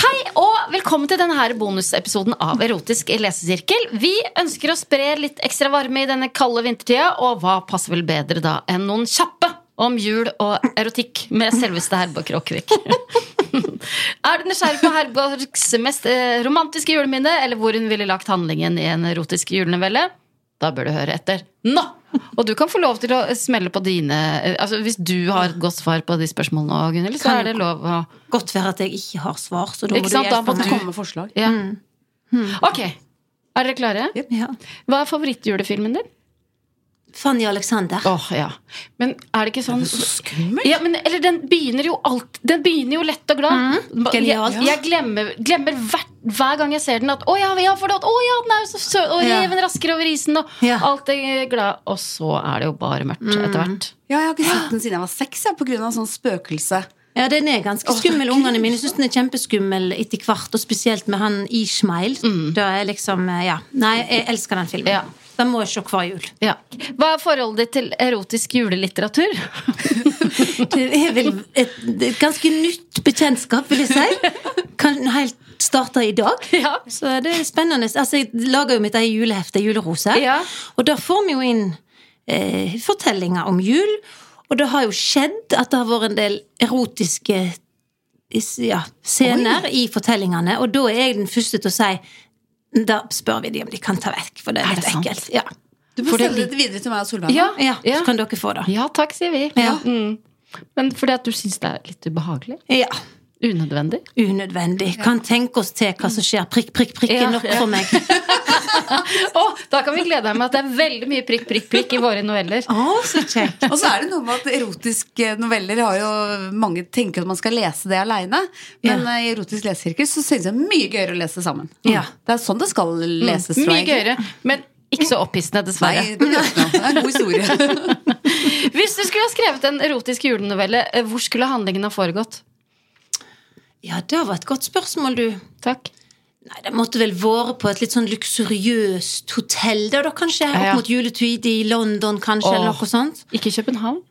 Hei og velkommen til denne her bonusepisoden av Erotisk lesesirkel. Vi ønsker å spre litt ekstra varme i denne kalde vintertida, og hva passer vel bedre da enn noen kjappe om jul og erotikk med selveste Herborg Kråkevik? er du nysgjerrig på Herborgs mest eh, romantiske juleminne, eller hvor hun ville lagt handlingen i en erotisk julenovelle? Da bør du høre etter nå! Og du kan få lov til å smelle på dine eh, Altså Hvis du har et godt svar på de spørsmålene, Gunhild, så Kan er det jo- lov å Godt være at jeg ikke har svar, så da må Ikke du sant, da hjelpe må meg. du- Komme med forslag. Ja. Mm. Ok. Er dere klare? Ja. Hva er favorittjulefilmen din? Fanny Alexander. Åh, ja. Men er det ikke sånn Så skummelt! Ja, men, eller den begynner jo alt Den begynner jo lett og glad. Ba- Genialt. Jeg, jeg glemmer, glemmer hver, hver gang jeg ser den at Å ja, ja, for det, at- å, ja den er jo så søt! Og Ja. reven rasker over isen, og Ja. alt er glad. Og så er det jo bare mørkt etter hvert. Ja, jeg har ikke sett den siden jeg var seks, jeg, på grunn av sånn spøkelse. Ja, den er ganske skummel. Ungene mine syns den er kjempeskummel etter hvert, og spesielt med han Ishmael. Da er liksom, ja. Nei, jeg elsker den filmen. Mm. Ja. Den må jeg se hver jul. Ja. Hva er forholdet ditt til erotisk julelitteratur? Det er vel et, et ganske nytt bekjentskap, vil jeg si. Kan helt starte i dag. Ja. Så det er spennende. Altså, jeg lager jo mitt eget julehefte, Julerose. Ja. Og da får vi jo inn eh, fortellinger om jul. Og det har jo skjedd at det har vært en del erotiske is- ja, scener i fortellingene. Og da er jeg den første til å si da spør vi de om de kan ta vekk, for det er, Er det litt sant? ekkelt. Ja. Du må For det sende det videre til meg og Solveig. Ja. Ja, så kan dere få det. ja takk, sier vi. Ja. Mm. Men fordi at du syns det er litt ubehagelig? Ja. Unødvendig? Unødvendig. Kan tenke oss til hva som skjer. Prikk, prikk, prikk Ja, er nok ja. for meg. Å, da kan vi glede deg med at det er veldig mye prikk, prikk, prikk i våre noveller. Å, så kjekt. Og så er det noe med at erotiske noveller har jo Mange tenker at man skal lese det aleine, men Ja. eh, i erotisk lesesirkel så synes jeg det er mye gøyere å lese sammen. Ja. Det er sånn det skal leses, tror Mye jeg. gøyere, men ikke så opphissende, Nei, dessverre. det blir ikke noe. Det er en god historie. Hvis du skulle ha skrevet en erotisk julenovelle, eh, hvor skulle handlingen ha foregått? Ja, det var et godt spørsmål, du. Takk. Nei, Det måtte vel være på et litt sånn luksuriøst hotell, da, da kanskje? Ja. Opp mot juletid i London, kanskje, eller Åh. noe sånt? Ikke København?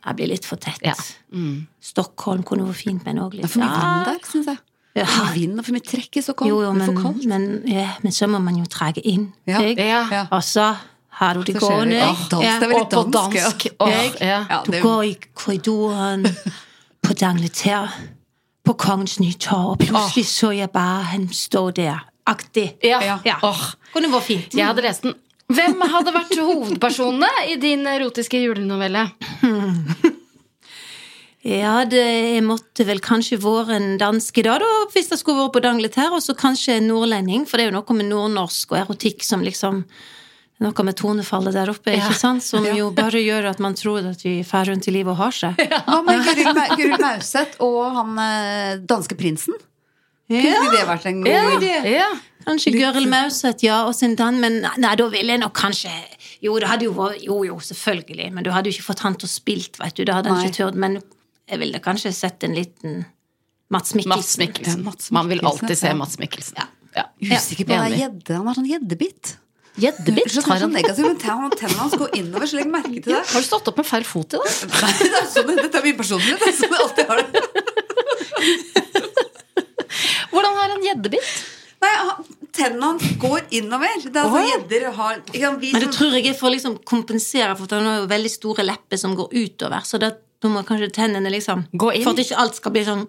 Det blir litt for tett. Ja. Mm. Stockholm kunne vært fint, men òg Det er litt for mye Ja. vind der, syns jeg. Ja. For mye vind og for mye trekk i Stockholm. Jo, jo, Det er men, for kaldt. men, ja, men så må man jo dra inn. Ja. Jeg, Ja. Ja. Altså, har du det Så skjer gående? det. Ja, dans, det er Ja. veldig Og på dansk, ja. dansk. Åh, ja. Ja, Du det- går i korridoren på Dangleter, på Kongens nye torv, og plutselig så jeg bare han stå der. Aktig. Ja. Ja. Åh, Kunne vært fint. jeg hadde lest den. Hvem hadde vært hovedpersonene i din erotiske julenovelle? Ja, det måtte vel kanskje vært en danske da, da, hvis det skulle vært på Dangleter, og så kanskje en nordlending, for det er jo noe med nordnorsk og erotikk som liksom noe med tonefallet der oppe, ikke sant? som jo bare gjør at man tror at vi fer rundt i livet og har seg. Hva med Guri Ma- Guri Mauseth og han eh, danske prinsen? Kunne ikke det vært en god Ja. Kanskje Gøril Mauseth, ja, og sin dan, men nei, da ville jeg nok kanskje Jo, det hadde jo vært Jo, jo, selvfølgelig, men du hadde jo ikke fått han til å spilt, vet du, det hadde han Nei. ikke turt, men jeg ville kanskje sett en liten Mats Mikkelsen. Mats Mikkelsen. Ja, Mads Man vil Mikkelsen, alltid se ja. Mats Mikkelsen. Ja. Usikker på det er gjedde. Han har sånn gjeddebitt. Gjeddebitt? Så Har sånn han- negativ, men tenn- Tennene hans går innover, så legg merke til det. Har du stått opp med feil fot i dag? Nei, det er sånn, dette er min personlighet. Det er sånn jeg alltid har det. Hvordan har han gjeddebitt? Nei, han- Tennene hans går innover. Det er sånn gjedder har ikke sant, vi Men det som- tror jeg er for å liksom kompensere, for han har jo veldig store lepper som går utover. Så det Da må kanskje tennene liksom Gå inn. For at ikke alt skal bli sånn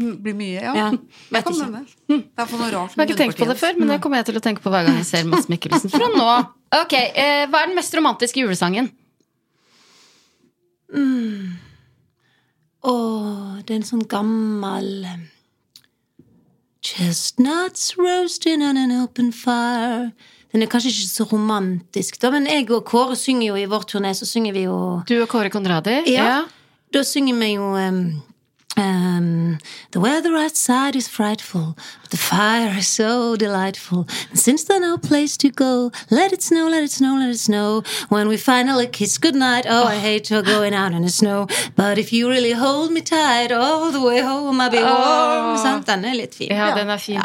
Blir mye, ja. Ja, det vet kan ikke. hende. Det er for noe rart Jeg har ikke tenkt på det før, men det kommer jeg til å tenke på hver gang jeg ser Mads Mikkelsen fra nå. Ok, eh, Hva er den mest romantiske julesangen? Å, det er en sånn gammel eh, Chestnuts roasting on an open fire. Den er kanskje ikke så romantisk, da, men jeg og Kåre synger jo i vår turné, så synger vi jo Du og Kåre Conradi? Ja. Da synger vi jo em, em, The weather outside is frightful, but the fire is so delightful. And since there's no place to go, let it snow, let it snow, let it snow. When we finally kiss goodnight, oh, I hate your going out in the snow. But if you really hold me tight all the way home, I'll be warm. Sant? Den er litt fin. Ja, den er fin.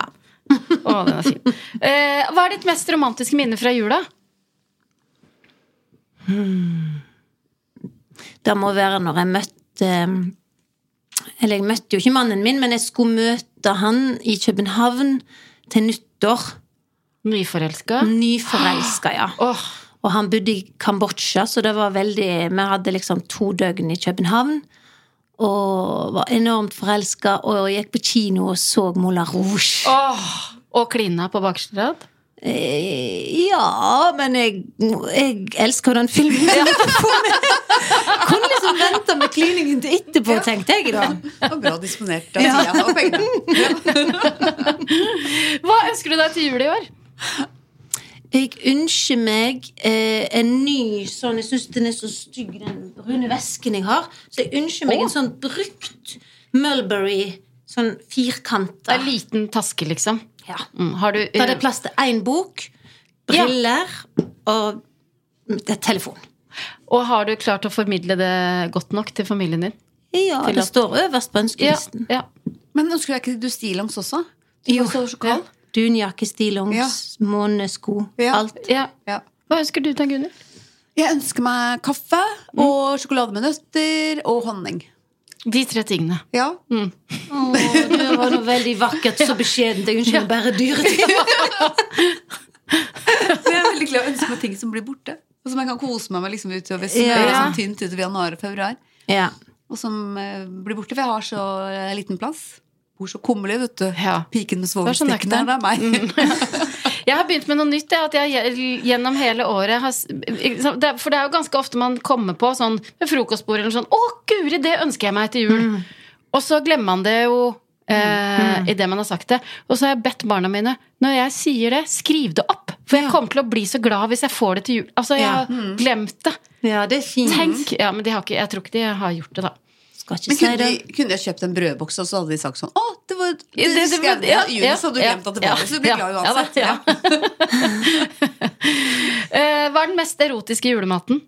Å, den er fin. Eh, hva er ditt mest romantiske minne fra jula? Det må være når jeg møtte um, Eller jeg møtte jo ikke mannen min, men jeg skulle møte han i København til nyttår. Nyforelska? Mm. Nyforelska, ja. Åh, Og han bodde i Kambodsja, så det var veldig Vi hadde liksom to døgn i København. Og var enormt forelska, og gikk på kino og så Moulin Rouge. åh, og klina på bakerste rad? Eh, Ja, men jeg, jeg elsker jo den filmen. Kunne liksom vente med kliningen til etterpå, tenkte jeg da. Det var bra disponert av tida og pengene. Hva ønsker du deg til jul i år? Jeg ønsker meg eh, en ny sånn Jeg syns den er så stygg, den brune vesken jeg har. Så jeg ønsker meg en sånn brukt Mulberry, sånn firkanta. En liten taske, liksom. Ja. Mm, har du eh, Der det er plass til én bok, briller og det er telefon. Og har du klart å formidle det godt nok til familien din? Ja, Til det at- står øverst på ønskelisten. ja. Men ønsker du deg ikke du stillongs også? Du Jo. var så kald. Dunjakke, stillongs, månesko, Ja. alt. ja. Ja. Hva ønsker du deg, Gunnhild? Jeg ønsker meg kaffe og sjokolade med nøtter og honning. De tre tingene. Ja. Å, det var noe veldig vakkert, så beskjedent. Jeg ønsker meg bare dyre ting. Så jeg er veldig glad i å ønske meg ting som blir borte. Og som jeg kan kose meg med liksom utover som Ja. er liksom tynt utover januar og februar. Ja. Og som eh, blir borte, for jeg har så eh, liten plass. Bor så kummerlig, vet du. Ja. Piken med er så Mm. svovelstikken her, det er meg. Jeg har begynt med noe nytt. det er At jeg gjennom hele året har, s- det er- For det er jo ganske ofte man kommer på sånn ved frokostbordet eller sånn 'Å, guri, det ønsker jeg meg til jul'. Og så glemmer man det jo eh, idet man har sagt det. Og så har jeg bedt barna mine når jeg sier det, skriv det opp. For jeg kommer til å bli så glad hvis jeg får det til jul. Altså, jeg har Ja. glemt det. ja, det er fint. Tenk! Ja, men de har ikke, jeg tror ikke de har gjort det, da. Skal ikke Men si kunne, det. de, kunne jeg kjøpt en brødboks, og så hadde de sagt sånn Å, det var det, Ja, det- det- skrev de ja, i juni, ja, så hadde du ja, glemt at det var ja, det, så du blir ja, glad ja da, uansett. ja. Eh, hva er den mest erotiske julematen?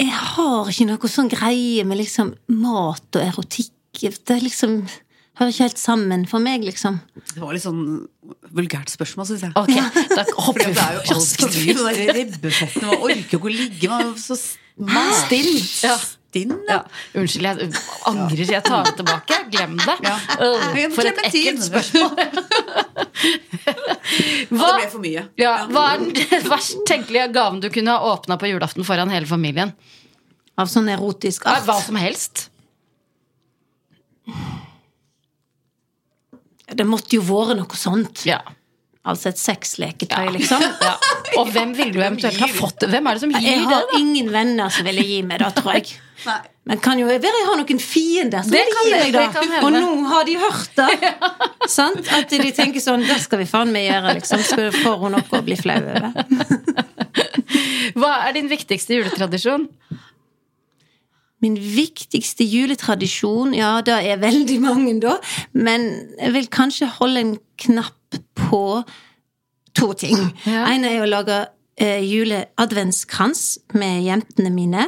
Jeg har ikke noe sånn greie med liksom mat og erotikk. Det er liksom hører ikke helt sammen for meg, liksom. Det var litt sånn vulgært spørsmål, syns jeg. Ok, da hopper vi Fordi at det er jo altfor mye den der ribbefetten. Man orker jo ikke å ligge man er jo så Ah. stinn. Ja. Stinn, Ja. ja. Unnskyld, jeg angrer. Jeg tar det tilbake. Glem det. Ja. Øh, Jeg For et glemmer tid. ekkelt spørsmål. Ja, Hva, det ble for mye. ja, hva er den verst tenkelige gaven du kunne ha åpna på julaften foran hele familien? Av sånn erotisk Hva art. hva som helst. Det måtte jo vært noe sånt. Ja. Altså et sexleketøy, liksom. Ja. Og hvem ville du eventuelt ha fått det? Hvem er det som Jeg gir det? har ingen venner som ville gi meg det, tror jeg. Nei. Men kan jo være jeg har noen fiender som Det vil kan gi det- meg det. det kan hende. Og nå har de hørt det. Sant? At de tenker sånn Det skal vi faen meg gjøre, liksom. Skal du få noe å bli flau over. Hva er din viktigste juletradisjon? Min viktigste juletradisjon, ja, det er veldig mange, da. Men jeg vil kanskje holde en knapp på to ting. Ja. En er å lage eh, juleadventskrans med jentene mine.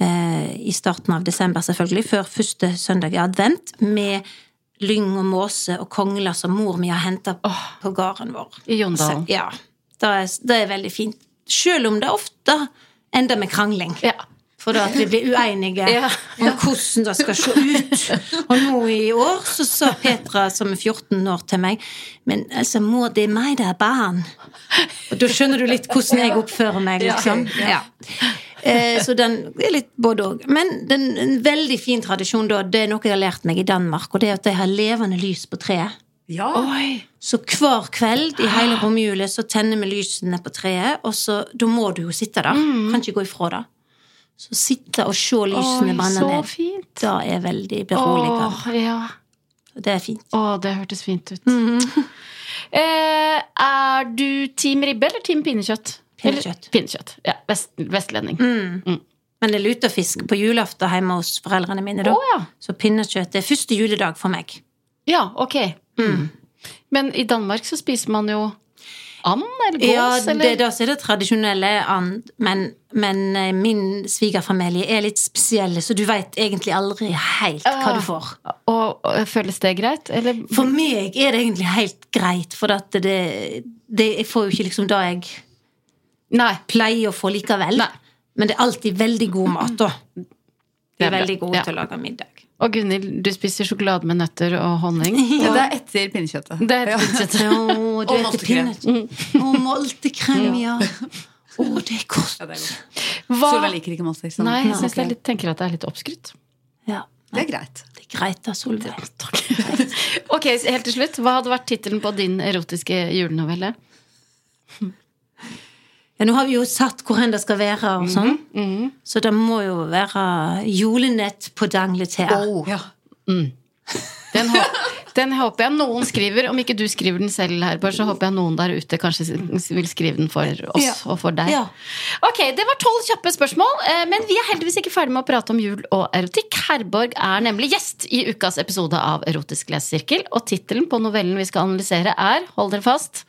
Eh, I starten av desember, selvfølgelig. Før første søndag i advent. Med lyng og måse og kongler som mor mi har henta på gården vår. I Jondalen. Så, ja. Det er, det er veldig fint. Selv om det ofte ender med krangling. Ja. For da at vi blir uenige Ja. om hvordan det skal se ut. Og nå i år så sa Petra, som er 14 år, til meg Men altså, må det meg det er barn? Og da skjønner du litt hvordan jeg oppfører meg, liksom. Ja. Eh, så den er litt både òg. Men det er en veldig fin tradisjon, da. Det er noe jeg har lært meg i Danmark, og det er at de har levende lys på treet. Ja. Oi. Så hver kveld i hele Ah. romjula så tenner vi lysene på treet, og så Da må du jo sitte der. Mm. Kan ikke gå ifra det. Så sitte og se lysene Oi, brenne så ned. fint. Det er veldig Åh, beroligende. ja. Det er fint. Åh, det hørtes fint ut. Mhm. eh, er du team ribbe eller team pinnekjøtt? Pinnekjøtt. Eller- pinnekjøtt. Ja, vest, vestlending. Å Men det er lutefisk på julaften hjemme hos foreldrene mine, da. ja. Så pinnekjøtt er første juledag for meg. ja, ok. Mm. Men i Danmark så spiser man jo and eller gås, Ja, eller? det, da så er det tradisjonelle and, men, men eh, min svigerfamilie er litt spesielle, så du veit egentlig aldri helt hva du får. Og, og føles det greit? Eller For meg er det egentlig helt greit, for at det, det Jeg får jo ikke liksom det jeg Nei. pleier å få likevel. Nei. Men det er alltid veldig god mat, da. De Det er er bra. veldig gode Ja. til å lage middag. Og Gunhild, du spiser sjokolade med nøtter og honning. Ja, det er etter pinnekjøttet. Det er pinnekjøtt. Å, du Og heter pinnet. Å, multekrem, ja. Å, det er godt. Ja, det er godt. Solveig Hva? liker ikke måltid. så- Nei, jeg synes ok. det er litt, tenker at det er litt oppskrytt. Ja, Det er greit. det er greit da, Solveig. Ok, helt til slutt. Hva hadde vært tittelen på din erotiske julenovelle? Ja, nå har vi jo satt hvor hen det skal være og sånn, så det må jo være julenett på Dangletea. Ja. Den, hå- den håper jeg noen skriver. Om ikke du skriver den selv, Herborg, så håper jeg noen der ute kanskje s- vil skrive den for oss Ja. og for deg. Ja. Ok, Det var tolv kjappe spørsmål, eh, men vi er heldigvis ikke ferdig med å prate om jul og erotikk. Herborg er nemlig gjest i ukas episode av Erotisk lesesirkel, og tittelen på novellen vi skal analysere, er Hold dere fast.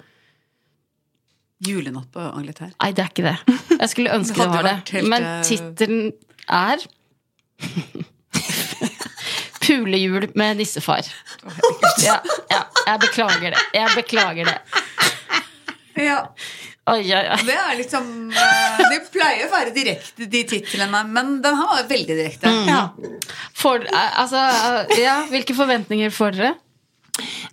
Julenatt på Angleterre. Nei, det er ikke det. Jeg skulle ønske det, Det hadde var vært det. helt, Men eh, tittelen er Pulejul med nissefar. Ja, ja, jeg beklager det. Jeg beklager det. Ja. Oi, oi, oi. Det er liksom eh, Det pleier å være direkte, de titlene, men den her var veldig direkte. Mm. For, eh, altså, eh, ja, hvilke forventninger får dere?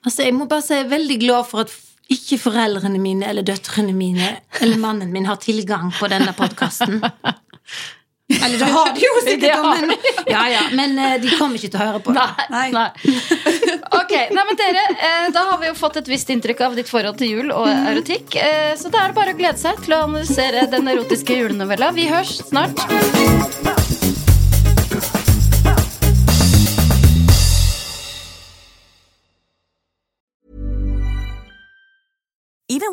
Altså, jeg må bare si jeg er veldig glad for at f- ikke foreldrene mine eller døtrene mine eller mannen min har tilgang på denne podkasten. Eller det har de jo Det sikkert, da, har men, ja, ja, men eh, de kommer ikke til å høre på det. Nei. Ok, nei, men dere, eh, Da har vi jo fått et visst inntrykk av ditt forhold til jul og Mm. erotikk. eh, Så da er det bare å glede seg til å analysere den erotiske julenovella. Vi høres snart. Even